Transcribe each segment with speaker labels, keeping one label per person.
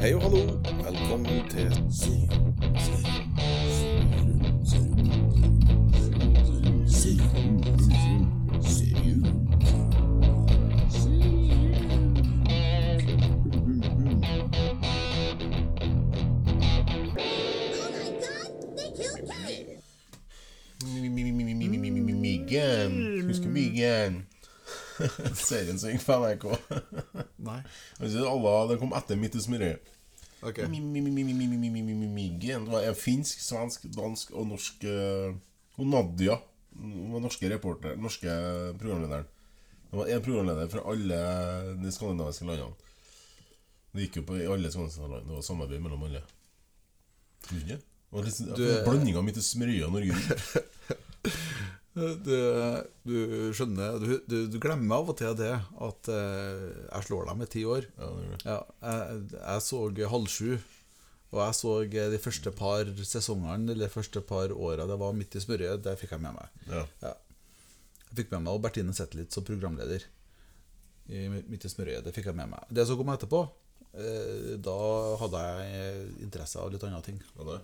Speaker 1: Hei og hallo. Velkommen til Si.
Speaker 2: Oh my god, they killed Kenny!
Speaker 1: Myggen. Husker Myggen. Serien som gikk på NRK.
Speaker 3: Nei.
Speaker 1: Jeg synes alle, Det kom etter Midt i smørøyet.
Speaker 3: Ok.
Speaker 1: Mi- mi- mi- mi- mi- mi- mi- mi- mi- mi- mi- Myggen. Det var en finsk, svensk, dansk og norsk eh, Og Nadia Hun var norske reporter, norske programlederen. Det var en programleder fra alle de skandinaviske landene. Det gikk jo på i alle skandinaviske land. Det var samarbeid mellom alle. Tror du ikke? Det var liksom,
Speaker 3: Du-
Speaker 1: Blandinga midt i smørøyet og Norge Rundt.
Speaker 3: Eh, Du, du skjønner du, du, du glemmer av og til det at eh, jeg slår deg med ti år.
Speaker 1: Ja, det gjør det.
Speaker 3: Ja, jeg, jeg så halv sju, og jeg så eh, de første par sesongene, eller de første par åra det var midt i smørøyet. Det fikk jeg med meg.
Speaker 1: Ja.
Speaker 3: Ja. Jeg fikk med meg og Bertine Zetlitz som programleder i Midt i smørøyet. Det fikk jeg med meg. Det som kom etterpå, eh, da hadde jeg eh, interesse av litt andre ting.
Speaker 1: Var det?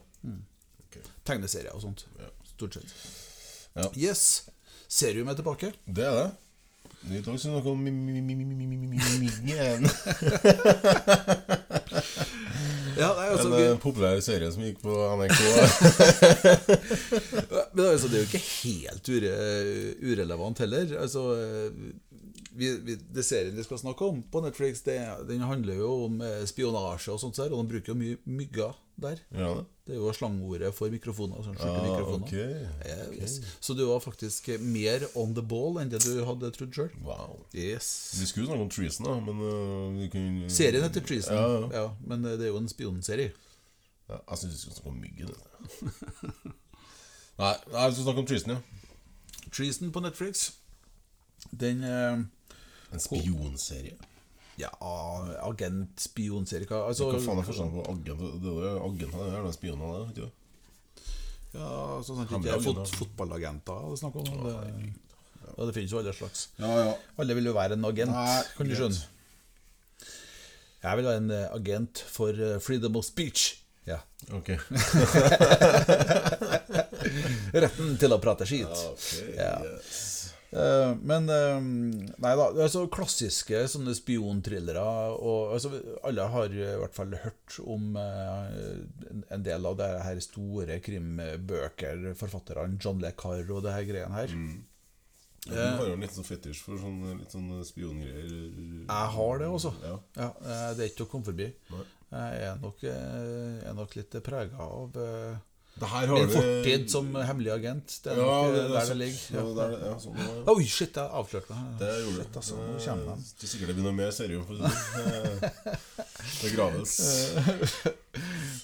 Speaker 1: Ok.
Speaker 3: Tegneserier og sånt.
Speaker 1: Ja.
Speaker 3: Stort sett.
Speaker 1: Ja.
Speaker 3: Yes! Serium er tilbake.
Speaker 1: Det er det. I dag skal vi snakke om mi- mi- mi- mi- mi- mi- mi- mi- Myggen.
Speaker 3: Ja, altså, det
Speaker 1: En
Speaker 3: er jo så gøy.
Speaker 1: eh, populær serie som gikk på NRK. eh,
Speaker 3: Men altså, det er jo ikke helt ure, urelevant heller. Altså, vi, vi, det serien vi skal snakke om på Netflix, det, den handler jo om eh, spionasje og sånt der, og de bruker jo mye mygger der.
Speaker 1: Ja, det.
Speaker 3: Det er jo slangordet for mikrofoner. Sånn, skjulte
Speaker 1: Ah,
Speaker 3: mikrofoner.
Speaker 1: ok.
Speaker 3: Eh, Yes. Så du var faktisk mer on the ball enn det du hadde trodd sjøl.
Speaker 1: Wow.
Speaker 3: Yes.
Speaker 1: Vi skulle jo snakke om Treason, da, men eh, vi kunne
Speaker 3: Serien heter Treason,
Speaker 1: Ja,
Speaker 3: ja. men eh, det er jo en spionserie.
Speaker 1: Ja, jeg syns vi skulle snakke om Myggen. jeg. Nei, nei, vi skal snakke om Treason, ja.
Speaker 3: Treason på Netflix. Den eh,
Speaker 1: En spionserie.
Speaker 3: Ja, agent, spionserie hva- altså,
Speaker 1: Hva faen er forskjellen på agent og det der? Agent er jo spioner, det. vet du.
Speaker 3: Ja, sånn at det
Speaker 1: Hemmelig
Speaker 3: ikke er fot,
Speaker 1: agent, da.
Speaker 3: fotballagenter det er snakk om. Det, ja, det finnes jo alle slags.
Speaker 1: Ja, ja.
Speaker 3: Alle vil jo være en agent,
Speaker 1: Nei,
Speaker 3: kan du
Speaker 1: greit.
Speaker 3: skjønne. Jeg vil være en eh, agent for eh, freedom of speech. Ja.
Speaker 1: Ok.
Speaker 3: Retten til å prate skit. Ja. Eh, Men eh, Nei da. Altså, klassiske sånne spionthrillere og altså, Alle har i hvert fall hørt om eh, en- en del av det her store krimbøker, forfatterne John Le Carre og det her greiene her.
Speaker 1: Mm. Du har jo en litt sånn fetisj for sånn, litt sånn spiongreier.
Speaker 3: Jeg har det, altså.
Speaker 1: Ja.
Speaker 3: Ja, eh, det er ikke til å komme forbi.
Speaker 1: Nei.
Speaker 3: Jeg er nok, eh, er nok litt prega av eh,
Speaker 1: Det her har
Speaker 3: min
Speaker 1: vi-
Speaker 3: fortid som hemmelig agent. Det er
Speaker 1: Ja,
Speaker 3: nok eh,
Speaker 1: det, det,
Speaker 3: der det ligger.
Speaker 1: Ja,
Speaker 3: Ja.
Speaker 1: det er det. Ja, sånn, det var, ja.
Speaker 3: Oi, shit, jeg avslørte meg.
Speaker 1: Det gjorde det.
Speaker 3: altså, nå kommer de.
Speaker 1: Eh, Ikke sikkert det blir noe mer seriøst. for å si det sånn. Eh, Det graves.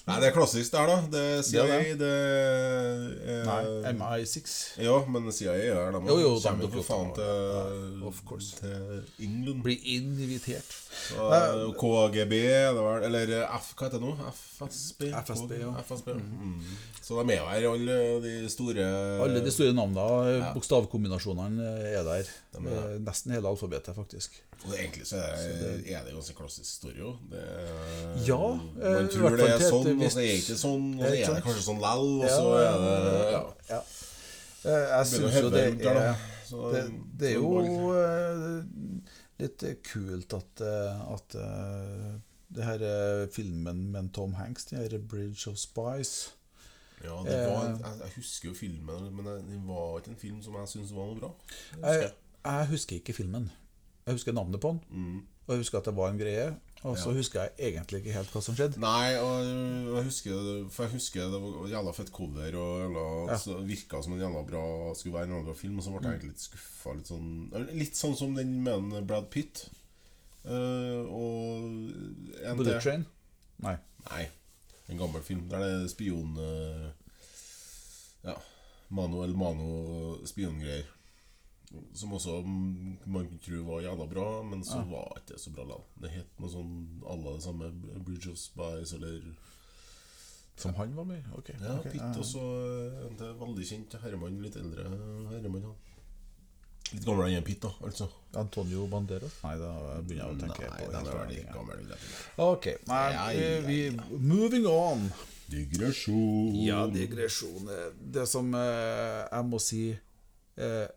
Speaker 1: Nei, det er klassisk der, da. Det er CIA,
Speaker 3: Eh. Det
Speaker 1: det,
Speaker 3: er
Speaker 1: er-
Speaker 3: Nei, MI6.
Speaker 1: Eh, Ja, men CIA er der. De
Speaker 3: Jo, jo, de
Speaker 1: kommer jo
Speaker 3: dukker
Speaker 1: for faen
Speaker 3: opp.
Speaker 1: til,
Speaker 3: of course.
Speaker 1: til England.
Speaker 3: Blir invitert.
Speaker 1: Og KGB, det var, eller eh, F, hva heter det nå? FSB?
Speaker 3: FSB, ja.
Speaker 1: FSB. Mm. Så de er jo her, alle de store
Speaker 3: Alle de store navnene, bokstavkombinasjonene, er der. Eh, Nesten hele alfabetet, faktisk.
Speaker 1: Og det- egentlig så er, det- er det ganske klassisk story òg.
Speaker 3: Ja, eh,
Speaker 1: Man
Speaker 3: i
Speaker 1: tror
Speaker 3: hvert
Speaker 1: det
Speaker 3: fall
Speaker 1: er
Speaker 3: til et
Speaker 1: sånn, og så er det
Speaker 3: visst-
Speaker 1: ikke sånn. Og
Speaker 3: Ja,
Speaker 1: så
Speaker 3: ikke
Speaker 1: er det
Speaker 3: sant?
Speaker 1: kanskje sånn lell, og
Speaker 3: Ja,
Speaker 1: så er det ja.
Speaker 3: Ja. Eh,
Speaker 1: Begynner å
Speaker 3: Jeg syns jo
Speaker 1: heve
Speaker 3: det
Speaker 1: rundt der, da.
Speaker 3: er
Speaker 1: Så,
Speaker 3: det, det er
Speaker 1: så
Speaker 3: jo
Speaker 1: bare-
Speaker 3: eh, litt kult at, eh, at eh, det her eh, filmen med Tom Hanks, den her 'Bridge of Spies'
Speaker 1: ja, det var
Speaker 3: eh.
Speaker 1: en, jeg, jeg husker jo filmen, men det- det var ikke en film som jeg syntes var noe bra.
Speaker 3: jeg, jeg husker ikke filmen. Jeg husker navnet på den,
Speaker 1: Mm.
Speaker 3: og jeg husker at det var en greie. Og så husker jeg egentlig ikke helt hva som skjedde.
Speaker 1: Nei, og jeg husker, for jeg husker det var jævla fett cover, og jævla, så virka som en jævla bra skulle være en jævla bra film, og så ble
Speaker 3: Mm.
Speaker 1: jeg egentlig litt skuffa. Litt, sånn, litt sånn som den med en Brad Pitt. eh, og en
Speaker 3: Bullet
Speaker 1: til.
Speaker 3: Train? Nei.
Speaker 1: Nei, en gammel film Der det er spion eh, Ja, Mano El Mano Spiongreier Som også mm, man kunne tro var jævla bra Men så var ikke det så bra land Det het noe sånn, alle det samme Bridge of Spies eller
Speaker 3: Som han var med i? Ok.
Speaker 1: Ja, eh,
Speaker 3: ok,
Speaker 1: Pitt også eh, en til veldig kjent herremann, litt eldre herremann han Litt gamlere enn en Pitt, da, altså.
Speaker 3: Antonio Banderas? Nei, da begynner jeg å tenke
Speaker 1: Nei,
Speaker 3: på
Speaker 1: den
Speaker 3: helt
Speaker 1: er
Speaker 3: andre
Speaker 1: vel
Speaker 3: ting.
Speaker 1: ikke gammel. vil jeg tro.
Speaker 3: Ok, nei,
Speaker 1: Ja,
Speaker 3: vi,
Speaker 1: ja,
Speaker 3: vi, moving on.
Speaker 1: Digresjon.
Speaker 3: Ja, digresjon. Det som eh, jeg må si eh,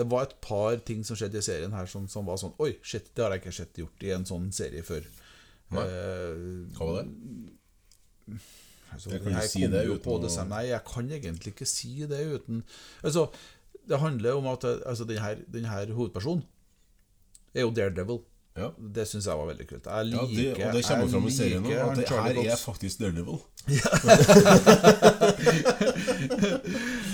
Speaker 3: Det var et par ting som skjedde i serien her som, som var sånn Oi, shit, det har jeg ikke sett gjort i en sånn serie før.
Speaker 1: Nei.
Speaker 3: Eh,
Speaker 1: Hva var det?
Speaker 3: altså,
Speaker 1: Jeg kan
Speaker 3: den
Speaker 1: ikke
Speaker 3: her
Speaker 1: si
Speaker 3: kom
Speaker 1: det
Speaker 3: jo
Speaker 1: uten
Speaker 3: på
Speaker 1: å-
Speaker 3: det samme. Nei, jeg kan egentlig ikke si det uten Altså, det handler om at altså, den, her, den her hovedpersonen er jo Daredevil.
Speaker 1: Ja.
Speaker 3: Det syns jeg var veldig kult. Jeg
Speaker 1: Ja, det,
Speaker 3: liker
Speaker 1: og det kommer
Speaker 3: jeg
Speaker 1: fram i serien nå,
Speaker 3: liker han
Speaker 1: at det
Speaker 3: Charlie
Speaker 1: her er
Speaker 3: Cox.
Speaker 1: faktisk Daredevil.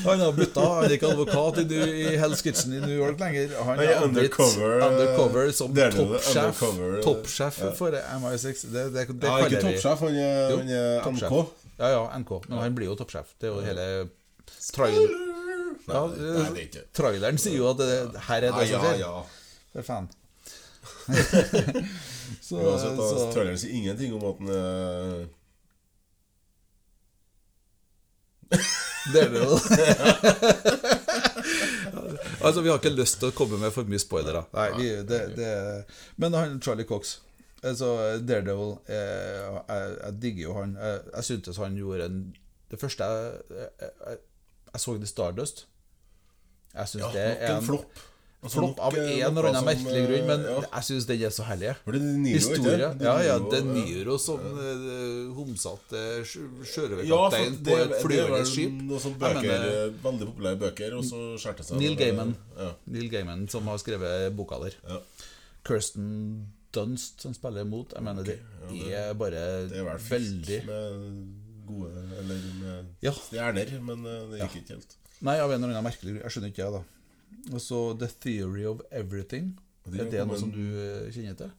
Speaker 3: Han har bytta, han er ikke advokat i, New- i Hell's Kitchen i New York lenger. Han
Speaker 1: Nei,
Speaker 3: er blitt
Speaker 1: undercover, eh,
Speaker 3: undercover som
Speaker 1: det er det,
Speaker 3: toppsjef
Speaker 1: undercover, eh,
Speaker 3: Toppsjef for MI6. Det, det, det
Speaker 1: Ja,
Speaker 3: kaller
Speaker 1: ikke
Speaker 3: vi
Speaker 1: toppsjef, eh, han er,
Speaker 3: Jo,
Speaker 1: han er
Speaker 3: toppsjef.
Speaker 1: MK.
Speaker 3: Ja, ja, NK. Men han blir jo toppsjef. Det er jo hele trail, ja,
Speaker 1: Nei, det er det ikke.
Speaker 3: Traileren sier jo at det, her er
Speaker 1: Nei,
Speaker 3: det
Speaker 1: ja,
Speaker 3: som skjer.
Speaker 1: ja.
Speaker 3: For faen. så,
Speaker 1: Uansett, da,
Speaker 3: så
Speaker 1: traileren sier ingenting om at han er
Speaker 3: det er det jo. altså, vi har ikke lyst til å komme med for mye spoilere. Nei, vi, det, det, men han Charlie Cox altså Daredevil eh, jeg, jeg digger jo han. Jeg, jeg syntes han gjorde en Det første jeg, jeg, jeg, jeg så det i Stardust. Jeg syns
Speaker 1: Ja,
Speaker 3: det
Speaker 1: nok
Speaker 3: er
Speaker 1: en flopp. Altså,
Speaker 3: flopp
Speaker 1: nok,
Speaker 3: av
Speaker 1: eh,
Speaker 3: en eller
Speaker 1: noe
Speaker 3: annen
Speaker 1: som,
Speaker 3: merkelig
Speaker 1: eh,
Speaker 3: grunn, men
Speaker 1: ja.
Speaker 3: jeg syns den er så herlig. jeg.
Speaker 1: For det er De Niro, ikke
Speaker 3: Historie.
Speaker 1: De
Speaker 3: Ja, ja.
Speaker 1: Niro,
Speaker 3: Det er Niro som eh, homsete sjø-
Speaker 1: Ja, for
Speaker 3: sjørøverkaptein
Speaker 1: det,
Speaker 3: på et
Speaker 1: det er
Speaker 3: flyvende
Speaker 1: vel
Speaker 3: skip.
Speaker 1: noe sånn
Speaker 3: Jeg
Speaker 1: bøker,
Speaker 3: mener,
Speaker 1: eh, veldig populære bøker, og så skjærte seg
Speaker 3: Neil
Speaker 1: det-
Speaker 3: Gaiman.
Speaker 1: Ja.
Speaker 3: Neil Gaiman som har skrevet boka der.
Speaker 1: Ja.
Speaker 3: Kirsten Dunst som spiller imot. Jeg mener, det er bare
Speaker 1: Det er vel fylt
Speaker 3: veldig
Speaker 1: med gode Eller med
Speaker 3: Ja.
Speaker 1: stjerner, men eh, det gikk ikke helt.
Speaker 3: Nei, av en eller annen merkelig grunn. Jeg skjønner ikke, jeg, da. Og så The Theory of Everything.
Speaker 1: Og det
Speaker 3: Er det
Speaker 1: kom
Speaker 3: noe
Speaker 1: en-
Speaker 3: som du eh, kjenner til?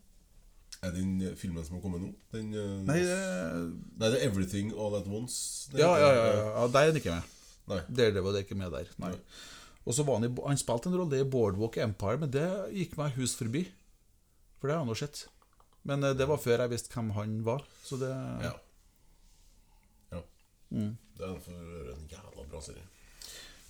Speaker 1: Er den eh, filmen som har kommet nå? Den, eh,
Speaker 3: Nei, det-
Speaker 1: nei, det er 'Everything All At Once'. den
Speaker 3: ja, ja,
Speaker 1: heter
Speaker 3: ja,
Speaker 1: den.
Speaker 3: ja. ja Der er han ikke med.
Speaker 1: Nei.
Speaker 3: Daredevil er ikke med der. Nei. Og så var han i Han spilte en rolle i Boardwalk Empire, men det gikk meg hus forbi. For det har jeg nå sett. Men eh, det var før jeg visste hvem han var. Så det
Speaker 1: Ja. ja.
Speaker 3: Mm.
Speaker 1: Det er for å gjøre en jævla bra serie.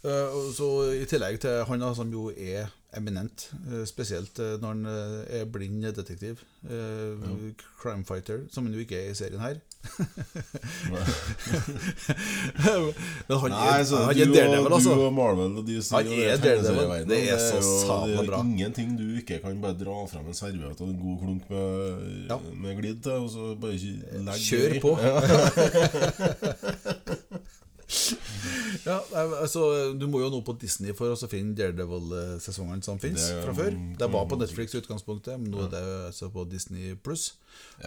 Speaker 3: Eh, og Så I tillegg til han da, som jo er eminent, eh, spesielt eh, når han eh, er blind detektiv, eh, crime fighter, som han jo ikke er i serien her. Men han, er- han er daredevil, altså.
Speaker 1: Du og Marvel og DC
Speaker 3: Han
Speaker 1: og
Speaker 3: er
Speaker 1: tegneserieverdenen,
Speaker 3: daredevil. Det er så
Speaker 1: jo- det
Speaker 3: sabla
Speaker 1: er
Speaker 3: bra.
Speaker 1: Ingenting du ikke kan bare dra frem en serviett og en god klunk med,
Speaker 3: Ja.
Speaker 1: med glid til, og så bare ikke legge
Speaker 3: Kjør
Speaker 1: i.
Speaker 3: på. ja, nei, altså, du må jo nå på Disney for å finne Daredevil-sesongene som fins
Speaker 1: Det mm,
Speaker 3: fra
Speaker 1: må-
Speaker 3: før. Det var på
Speaker 1: må-
Speaker 3: Netflix i utgangspunktet, men nå er det altså på Disney pluss.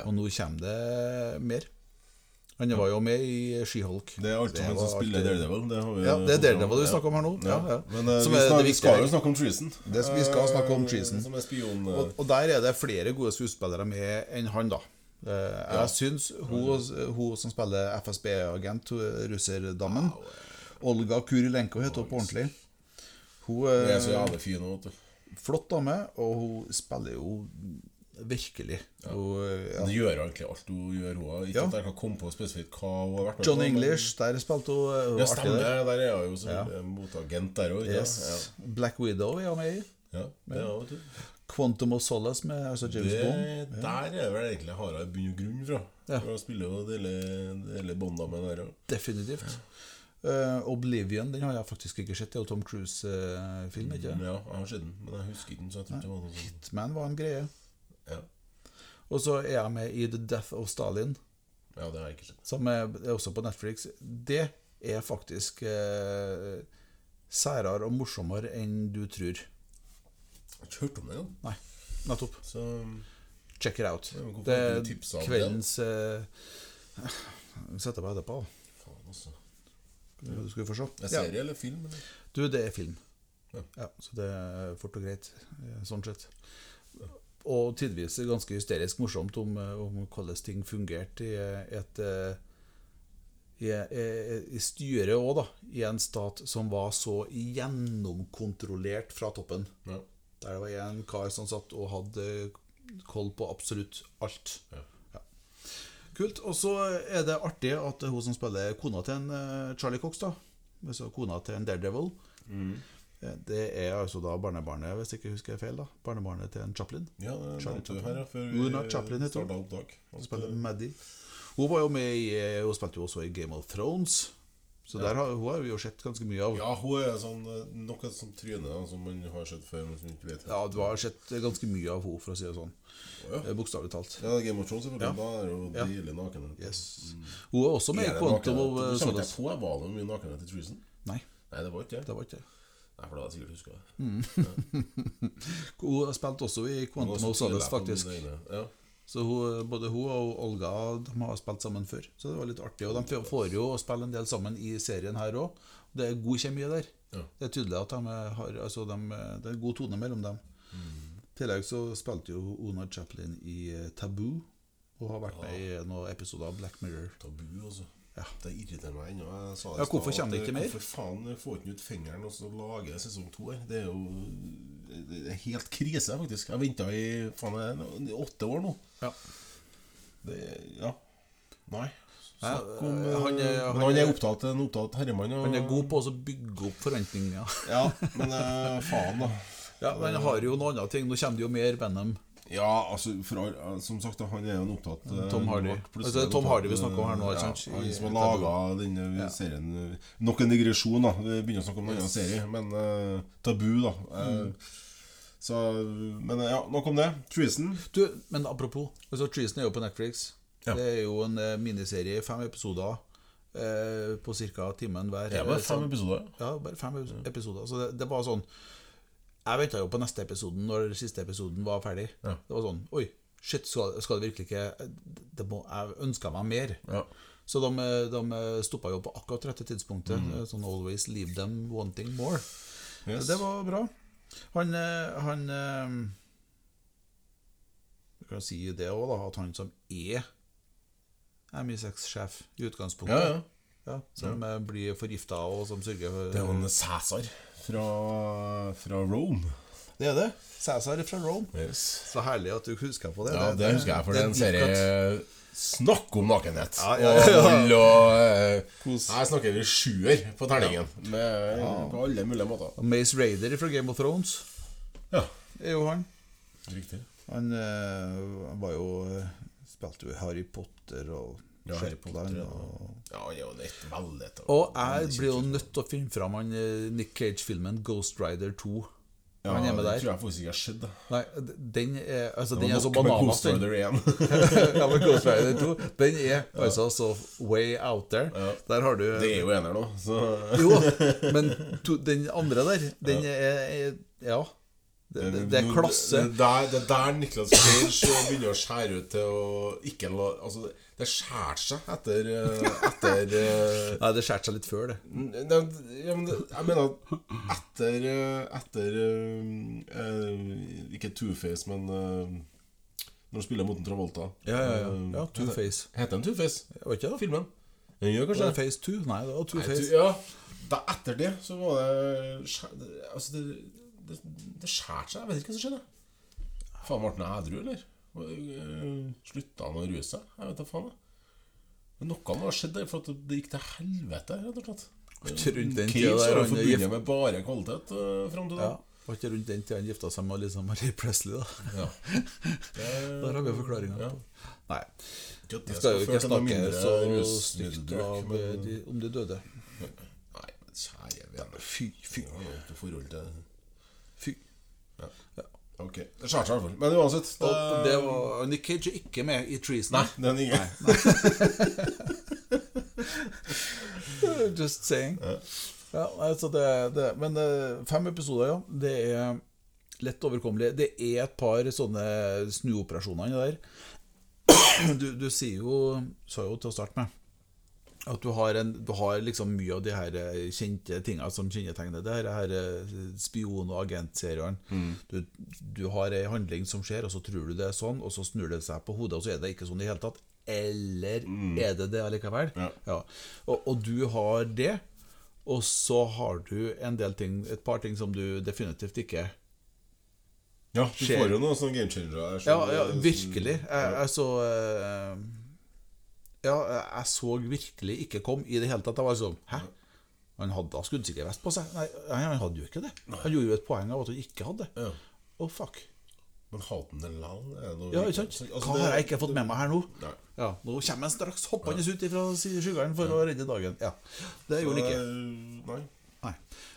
Speaker 3: Og nå kommer det mer. Han var jo med i Skiholk.
Speaker 1: Det er alt som en som spiller Daredevil. Det, har vi
Speaker 3: Ja, det er
Speaker 1: fått fram.
Speaker 3: Daredevil vi snakker om her nå. Ja, ja.
Speaker 1: Men eh,
Speaker 3: Som
Speaker 1: vi,
Speaker 3: er det
Speaker 1: snakker, vi
Speaker 3: viktige
Speaker 1: skal
Speaker 3: her.
Speaker 1: jo snakke om Treason.
Speaker 3: Det- vi skal snakke om
Speaker 1: Eh,
Speaker 3: Treason.
Speaker 1: Som er spion... eh,
Speaker 3: Og, og der er det flere gode skuespillere med enn han, da. Eh, Jeg syns hun, hun som spiller FSB-agent, hun russerdammen Olga Kurilenko heter hun på ordentlig. Hun
Speaker 1: Det er så
Speaker 3: er
Speaker 1: jævlig fin òg, vet du.
Speaker 3: flott dame, og hun spiller jo virkelig. Hun, eh, ja.
Speaker 1: Det gjør egentlig alt hun gjør, hun. Ikke
Speaker 3: Ja.
Speaker 1: at jeg kan komme på spesifikt hva hun har vært med
Speaker 3: John
Speaker 1: på, men-
Speaker 3: English, der spilte hun, eh, hun
Speaker 1: Ja,
Speaker 3: artig
Speaker 1: stemmer.
Speaker 3: der.
Speaker 1: Der er hun jo selvfølgelig motagent der òg.
Speaker 3: Yes. Black Widow er hun med i.
Speaker 1: Ja. Ja, ja, vet du.
Speaker 3: Quantum of Solace med altså James
Speaker 1: Det,
Speaker 3: Bond.
Speaker 1: der er vel egentlig Harald bunn og grunn fra.
Speaker 3: Ja.
Speaker 1: For Han spiller jo dele, dele bånda med der òg.
Speaker 3: Definitivt. Eh, Oblivion den har jeg faktisk ikke sett. Det er jo Tom Cruise-film, ikke det?
Speaker 1: Ja, jeg har sett den, men jeg husker ikke den. Så jeg tror ikke det var noe sånt.
Speaker 3: Hitman var en greie.
Speaker 1: Ja.
Speaker 3: Og så er jeg med i The Death of Stalin,
Speaker 1: ja, det har jeg ikke sett.
Speaker 3: som er, er også på Netflix. Det er faktisk eh, særere og morsommere enn du tror.
Speaker 1: Jeg har ikke hørt om det engang.
Speaker 3: Nei, nettopp.
Speaker 1: Så
Speaker 3: Check it out.
Speaker 1: men hvorfor
Speaker 3: Det
Speaker 1: har
Speaker 3: er
Speaker 1: ikke du tipset om
Speaker 3: kveldens eh, Vi setter på etterpå.
Speaker 1: faen, altså.
Speaker 3: Du skal få se.
Speaker 1: Er det
Speaker 3: Ja.
Speaker 1: serie eller film? Eller?
Speaker 3: Du, det er film.
Speaker 1: Ja.
Speaker 3: Ja, så det er fort og greit, eh, sånn sett. Og tidvis ganske hysterisk morsomt om, eh, om hvordan ting fungerte i eh, et eh, i, i, i styret òg, da. I en stat som var så gjennomkontrollert fra toppen.
Speaker 1: Ja.
Speaker 3: Der det var en kar som satt og hadde koll på absolutt alt.
Speaker 1: Ja.
Speaker 3: Ja. Kult. Og så er det artig at hun som spiller kona til en eh, Charlie Cox, da altså kona til en Daredevil, Det er altså da barnebarnet, hvis jeg ikke husker feil, da barnebarnet til en Chaplin.
Speaker 1: Ja, det
Speaker 3: Charlie
Speaker 1: nevnte du her ja, før
Speaker 3: Una Chaplin heter hun.
Speaker 1: startet opptak.
Speaker 3: Hun spiller Maddie. Hun var jo med i eh, Hun spilte jo også i Game of Thrones. Så der har, hun har vi jo sett ganske mye av. Ja,
Speaker 1: Ja, hun er sånn, eh, nok et sånt tryne da, som man har sett før, men som man ikke vet helt.
Speaker 3: du har sett ganske mye av henne, for å si det sånn.
Speaker 1: ja.
Speaker 3: Eh, Bokstavelig talt.
Speaker 1: Ja, Game of Thrones, selvfølgelig. Da er hun
Speaker 3: Ja.
Speaker 1: deilig naken.
Speaker 3: Yes. Hun Mm. er også med i Quantum of eh, Solace.
Speaker 1: Solace. Jeg var det mye nakenhet i Treason?
Speaker 3: Nei,
Speaker 1: Nei, det var ikke
Speaker 3: det var ikke det.
Speaker 1: Nei, for da hadde jeg sikkert huska
Speaker 3: Mm.
Speaker 1: det.
Speaker 3: Hun spilte også i
Speaker 1: Og
Speaker 3: Quantum
Speaker 1: så
Speaker 3: of Solace,
Speaker 1: tviler jeg på
Speaker 3: faktisk.
Speaker 1: mine egne. Ja.
Speaker 3: Så hun, eh, både hun og Olga de har spilt sammen før, så det var litt artig. Og de får jo spille en del sammen i serien her òg. Det er god kjemi der.
Speaker 1: Ja.
Speaker 3: Det er tydelig at de har, altså de, det er god tone mellom dem. I tillegg så spilte jo Ona Chaplin i eh, Taboo, og har vært med i noen episoder av Black Mirror.
Speaker 1: Tabu, altså.
Speaker 3: Ja.
Speaker 1: Det irriterer meg ennå. Jeg sa det
Speaker 3: Ja,
Speaker 1: i stad,
Speaker 3: hvorfor
Speaker 1: at,
Speaker 3: kommer det ikke
Speaker 1: eh,
Speaker 3: mer?
Speaker 1: Hvorfor faen får ikke ut fingeren og så lager jeg sesong to her? Det er jo det er helt krise, faktisk. Jeg venta i faen meg i åtte år nå. Det, ja. Nei. Snakk om
Speaker 3: Nei,
Speaker 1: eh,
Speaker 3: han er- han
Speaker 1: Men han
Speaker 3: er-
Speaker 1: er opptatt en opptatt herremann. og-
Speaker 3: Han er god på å bygge opp forventninger.
Speaker 1: Ja, men eh, faen, da.
Speaker 3: Ja, men han har jo noen andre ting. Nå kommer det jo mer Venom.
Speaker 1: Ja, altså, for, all- som sagt, da, han er jo en opptatt eh,
Speaker 3: Tom Hardy.
Speaker 1: mak, plutselig
Speaker 3: Altså, det er
Speaker 1: en
Speaker 3: Tom
Speaker 1: opptatt,
Speaker 3: Hardy vi snakker om her nå,
Speaker 1: eh,
Speaker 3: ikke
Speaker 1: ja,
Speaker 3: sant?
Speaker 1: Han
Speaker 3: I-
Speaker 1: som har
Speaker 3: i-
Speaker 1: laga denne serien eh, Nok en digresjon, da. Vi begynner å snakke om en annen serie, men eh, tabu, da. Eh,
Speaker 3: Mm.
Speaker 1: Så, men eh, ja, nok om det. Treason.
Speaker 3: Du, men apropos, altså Treason er jo på Netflix.
Speaker 1: Ja.
Speaker 3: Det er jo en eh, miniserie, fem episoder eh, på ca. timen hver. Eh, Så-
Speaker 1: episoder.
Speaker 3: Ja, bare fem epis- episoder. Så det, det var sånn Jeg venta jo på neste episoden når siste episoden var ferdig.
Speaker 1: Ja.
Speaker 3: Det var sånn Oi, shit, skal, skal det virkelig ikke det må, Jeg ønska meg mer.
Speaker 1: Ja.
Speaker 3: Så de, de stoppa jo på akkurat rette tidspunktet. Sånn Always leave them wanting more.
Speaker 1: Yes.
Speaker 3: Det var bra. Han, eh, han eh, Du kan si det òg, da, at han som er MI6-sjef i utgangspunktet,
Speaker 1: ja, ja.
Speaker 3: ja, som eh, blir forgifta og som sørger for
Speaker 1: Det er jo en Cæsar fra, fra Rome. Det er det.
Speaker 3: Cæsar fra Rome. Så herlig at du husker på det.
Speaker 1: Ja, det husker jeg, for det er en
Speaker 3: deep cut.
Speaker 1: serie Snakk om nakenhet!
Speaker 3: Ja, ja, ja.
Speaker 1: Og vold og eh,
Speaker 3: Kos.
Speaker 1: Her snakker vi sjuer på terningen. Med, På alle mulige måter.
Speaker 3: Og Mace Raider fra Game of Thrones
Speaker 1: Ja,
Speaker 3: er jo han.
Speaker 1: riktig.
Speaker 3: Han eh, han var jo eh, Spilte jo i Harry Potter og
Speaker 1: Ja, Harry Potter,
Speaker 3: Shetland.
Speaker 1: ja.
Speaker 3: Og,
Speaker 1: Ja, han er jo et veldig et-
Speaker 3: og jeg blir jo nødt til å finne fram han eh, Nick Cage-filmen Ghost Rider 2.
Speaker 1: ja,
Speaker 3: han er med
Speaker 1: det
Speaker 3: der.
Speaker 1: tror jeg faktisk ikke har skjedd.
Speaker 3: Nei, d- den er, altså, den er så
Speaker 1: Banana
Speaker 3: bananas, den. ja, men Ghost Rider 2 Den er altså så way out there. Der har du
Speaker 1: Det er jo en her nå, så
Speaker 3: Jo, men to, den andre der, den er, er Ja. Det, det, det er
Speaker 1: Nå-
Speaker 3: klasse.
Speaker 1: Det der, det der Niklas Cage begynner å skjære ut til å ikke la Altså, det skjærer seg etter eh, Etter eh,
Speaker 3: Nei, det skjærte seg litt før, det.
Speaker 1: Nei, ja, men det, jeg mener at etter eh, Etter eh, eh, Ikke Two-Face, men eh, Når han spiller mot en Travolta
Speaker 3: Ja, ja, ja.
Speaker 1: Eh,
Speaker 3: ja Two-Face.
Speaker 1: Heter han Two-Face?
Speaker 3: Var ikke det?
Speaker 1: Filmen? Den gjør
Speaker 3: Var
Speaker 1: kanskje
Speaker 3: det Face 2? Nei, det var
Speaker 1: Nei,
Speaker 3: Two-Face.
Speaker 1: du- Ja, da etter det så var det skjæ- det- Altså, det, det, det skjærte seg. Jeg vet ikke hva som skjedde. Faen, ble han edru, eller? Øh, Slutta han å ruse seg? Jeg vet da faen. jeg. Men noe må ha skjedd der, for at det gikk til helvete, rett og slett.
Speaker 3: rundt den
Speaker 1: Cage
Speaker 3: tida der
Speaker 1: var jo
Speaker 3: han
Speaker 1: forbundet med bare kvalitet øh, fram til da.
Speaker 3: Ja. Var ikke rundt den tida han gifta seg med Lisa Marie Presley, da?
Speaker 1: Ja.
Speaker 3: Der har vi jo forklaringa.
Speaker 1: Ja.
Speaker 3: Nei.
Speaker 1: Ikke at
Speaker 3: Vi
Speaker 1: det
Speaker 3: skal jo
Speaker 1: føre
Speaker 3: ikke
Speaker 1: til noe
Speaker 3: snakke
Speaker 1: mindre
Speaker 3: så stygt
Speaker 1: rusmiddelbruk,
Speaker 3: av
Speaker 1: men-
Speaker 3: eh, de, om de døde.
Speaker 1: Nei, men kjære vene.
Speaker 3: Fy, fy,
Speaker 1: Jeg har jo ikke forhold til det.
Speaker 3: fy.
Speaker 1: Ok, det skjærte seg i hvert fall. Men uansett det-
Speaker 3: Og det var Nick Cage er ikke med i Treason.
Speaker 1: Nei, den er ingen.
Speaker 3: Just saying. Ja, altså det, det, men eh, fem episoder, ja. Det er lett overkommelig. Det er et par sånne snuoperasjoner inni der. Du, du sier jo, sa jo til å starte med at du har, en, du har liksom mye av de her eh, kjente tinga som kjennetegner det her, her eh, spion- og agentseriene. Du, du har ei handling som skjer, og så tror du det er sånn, og så snur det seg på hodet, og så er det ikke sånn i det hele tatt. Eller er det det allikevel?
Speaker 1: Ja.
Speaker 3: Og, og du har det, og så har du en del ting, et par ting som du definitivt ikke
Speaker 1: Ja, du
Speaker 3: Skjer.
Speaker 1: får jo noen sånne game changer
Speaker 3: Ja, ja virkelig. Jeg, jeg så eh, Ja, jeg så virkelig ikke kom i det hele tatt. Jeg var sånn Hæ? Han hadde da skuddsikker vest på seg. Nei, nei, han hadde jo ikke det. Han gjorde jo et poeng av at han ikke hadde det.
Speaker 1: sånn- Ja.
Speaker 3: Å, fuck.
Speaker 1: Men haten eller land er noe
Speaker 3: Ja, ikke sant?
Speaker 1: Altså,
Speaker 3: Hva
Speaker 1: det-
Speaker 3: har jeg ikke fått med meg her nå?
Speaker 1: Nei.
Speaker 3: Ja, Nå kommer han straks hoppende ut ifra skyggene for å redde dagen. Ja, Det gjorde han ikke.
Speaker 1: Eh, Nei.
Speaker 3: Nei.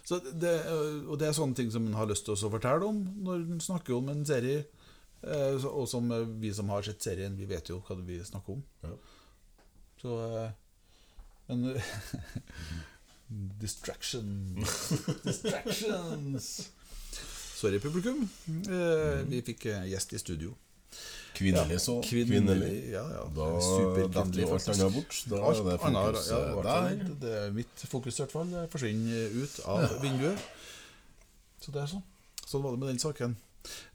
Speaker 3: Så det, og det er sånne ting som en har lyst til å fortelle om når en snakker om en serie. eh, så- Og som eh, vi som har sett serien, vi vet jo hva vi snakker om.
Speaker 1: Ja.
Speaker 3: Så eh, Men Distraction. Distractions. Sorry, publikum. Eh, Vi fikk eh, gjest i studio.
Speaker 1: Kvinnelig Mm. så. Kvinnelig.
Speaker 3: Ja, ja.
Speaker 1: Da
Speaker 3: Superkvinnelig,
Speaker 1: detter jo alt
Speaker 3: faktisk.
Speaker 1: annet bort. Da er
Speaker 3: Alt
Speaker 1: det
Speaker 3: annet,
Speaker 1: fokus
Speaker 3: ja, i
Speaker 1: eh,
Speaker 3: hvert fall,
Speaker 1: der.
Speaker 3: det- det er mitt fokus i hvert fall. Det forsvinner ut av vinduet. Så det er sånn. Sånn var det med den saken.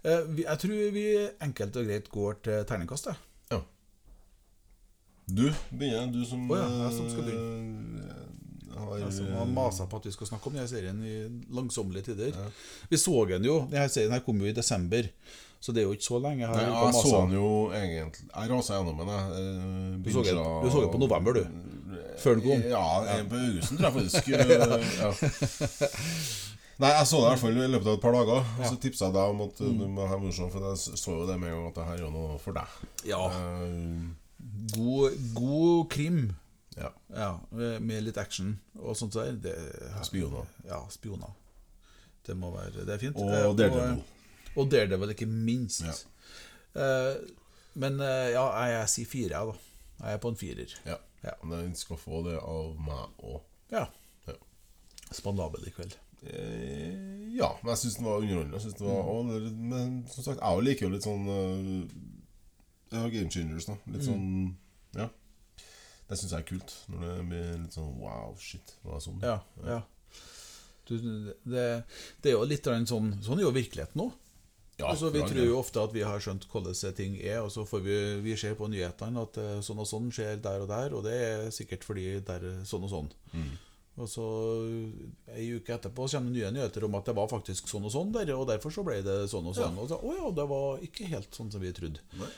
Speaker 3: Eh, vi- Jeg tror vi enkelt og greit går til terningkast. jeg.
Speaker 1: Ja. Du begynner, du som
Speaker 3: Å ja, jeg som skal
Speaker 1: eh, Har,
Speaker 3: Jeg som har masa på at vi skal snakke om denne serien i langsommelige tider. Vi så den jo. Denne serien her kom jo i desember, så det er jo ikke så lenge. Her
Speaker 1: Nei,
Speaker 3: ute og
Speaker 1: jeg så
Speaker 3: masa.
Speaker 1: den jo egentlig Jeg rasa gjennom den. jeg. Eh,
Speaker 3: Du så den-
Speaker 1: binget
Speaker 3: du så den på
Speaker 1: og-
Speaker 3: november, du. Før den kom.
Speaker 1: Ja, en på Augusten tror jeg faktisk. eh, ja. Nei, jeg så det i hvert fall i løpet av et par dager. Og så tipsa jeg deg om at eh,
Speaker 3: Mm.
Speaker 1: du må ha morsom, for jeg så jo det med en gang at det her er jo noe for deg.
Speaker 3: Ja,
Speaker 1: Eh,
Speaker 3: god, god krim.
Speaker 1: ja.
Speaker 3: Ja, med litt action og sånt der. Det,
Speaker 1: Spioner.
Speaker 3: Ja, spioner. Det må være Det er fint.
Speaker 1: Og
Speaker 3: Eh,
Speaker 1: Daredevil.
Speaker 3: Og, og Daredevil, ikke minst.
Speaker 1: Ja.
Speaker 3: Eh, men eh, ja, jeg, jeg sier fire, jeg, da. Jeg er på en firer.
Speaker 1: ja.
Speaker 3: Ja.
Speaker 1: Men den skal få det av meg òg.
Speaker 3: Ja.
Speaker 1: Ja.
Speaker 3: Spandabel i kveld.
Speaker 1: Eh, Ja, men jeg syns den var underholdende. Jeg synes den
Speaker 3: Mm.
Speaker 1: var, og, det- men som sagt, jeg liker jo litt sånn eh, Ja, Game Changers, da. Litt
Speaker 3: Mm.
Speaker 1: sånn Ja. Det syns jeg er kult. Når det blir litt sånn wow, shit. Det var sånn.
Speaker 3: Ja, ja. Du, det, det er jo litt grann sånn Sånn er jo virkeligheten nå.
Speaker 1: Ja,
Speaker 3: altså, vi
Speaker 1: bra,
Speaker 3: tror jo ofte at vi har skjønt hvordan ting er, og så får vi, vi ser på nyhetene at eh, sånn og sånn skjer der og der, og det er sikkert fordi det er sånn og sånn.
Speaker 1: Mm.
Speaker 3: Og så eh, ei uke etterpå så kommer det nye nyheter om at det var faktisk sånn og sånn der, og derfor så ble det sånn og sånn. Og så, å ja, det var ikke helt sånn som vi trodde.
Speaker 1: Nei.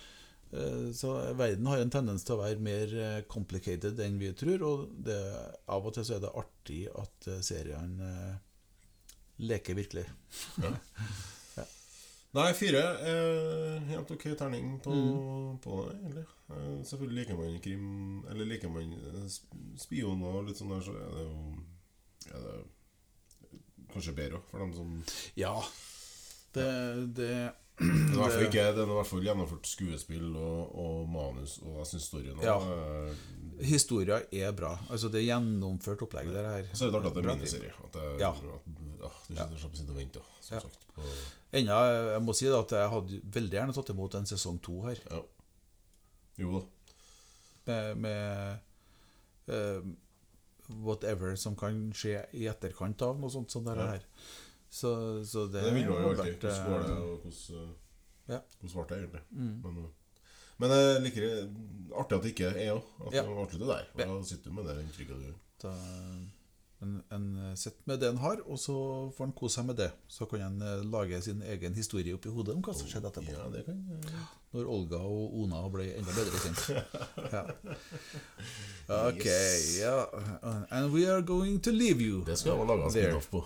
Speaker 3: Eh, Så verden har en tendens til å være mer eh, complicated enn vi tror, og det, av og til så er det artig at eh, seriene eh, leker virkelig.
Speaker 1: Nei, fire. Eh, helt ok terning på,
Speaker 3: Mm.
Speaker 1: på det, egentlig. Eh, selvfølgelig liker man krim Eller liker man eh, sp- spioner og litt sånn der, så er det jo er det kanskje bedre også, for dem som
Speaker 3: Ja. Det, det
Speaker 1: Det er i hvert fall ikke Den er i hvert fall gjennomført skuespill og, og manus, og jeg syns storyen
Speaker 3: Ja.
Speaker 1: også, eh,
Speaker 3: Historia er bra. Altså Det er gjennomført opplegg. Det her.
Speaker 1: Så er det artig at det er miniserie. At det,
Speaker 3: Ja.
Speaker 1: at, ja, du sitter og sitter og venter, som
Speaker 3: Ja.
Speaker 1: sagt. På,
Speaker 3: Ennå, jeg må si da at jeg hadde veldig gjerne tatt imot en sesong to her.
Speaker 1: ja. Jo da.
Speaker 3: Med, med eh, whatever som kan skje i etterkant av noe sånt som det her. Så, så det,
Speaker 1: Det vil man jo
Speaker 3: hadde
Speaker 1: alltid.
Speaker 3: vært, eh, Mm.
Speaker 1: Hvordan går det, og hvordan, eh,
Speaker 3: Ja.
Speaker 1: hvordan ble det egentlig? Men, eh, men jeg liker det artig at det ikke er òg. At
Speaker 3: Ja.
Speaker 1: man avslutter der. Og
Speaker 3: Ja.
Speaker 1: Da sitter du med det inntrykket du
Speaker 3: Da, en, en sitter med det en har, og så får en kose seg med det. Så kan en eh, lage sin egen historie oppi hodet om hva som skjedde etterpå.
Speaker 1: Ja, det kan
Speaker 3: Når Olga og Ona ble enda bedre kjent. Ja. Ok,
Speaker 1: Yes.
Speaker 3: ja. And we are going to leave you.
Speaker 1: Det skal man lage en
Speaker 3: There.
Speaker 1: spin-off på.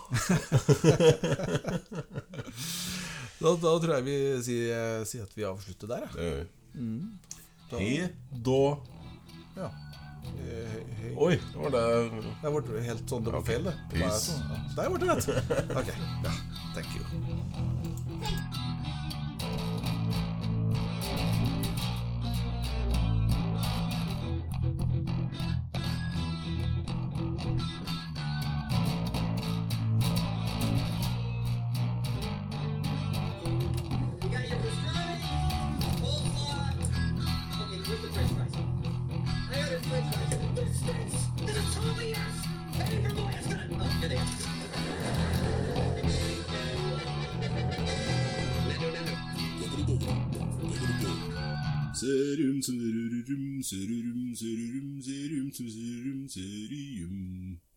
Speaker 3: Da, da tror jeg vi sier, eh, sier at vi avslutter der,
Speaker 1: Det gjør vi. Hei, da
Speaker 3: ja. ja. Eh, hei.
Speaker 1: Oi, det var det
Speaker 3: Der ble det helt sånn det var feil, det. det. var
Speaker 1: Peace.
Speaker 3: sånn, ja. Der ble det rett. Ok, ja. Thank you.
Speaker 4: We got your pastrami, coleslaw. Okay, where's the french fries? I ordered french fries. This stinks! This is totally ass! Hey, from the last time! Oh, here they are. Nando, nando.
Speaker 1: Serum, serum, serum, serum, serum, serum, serum, serum.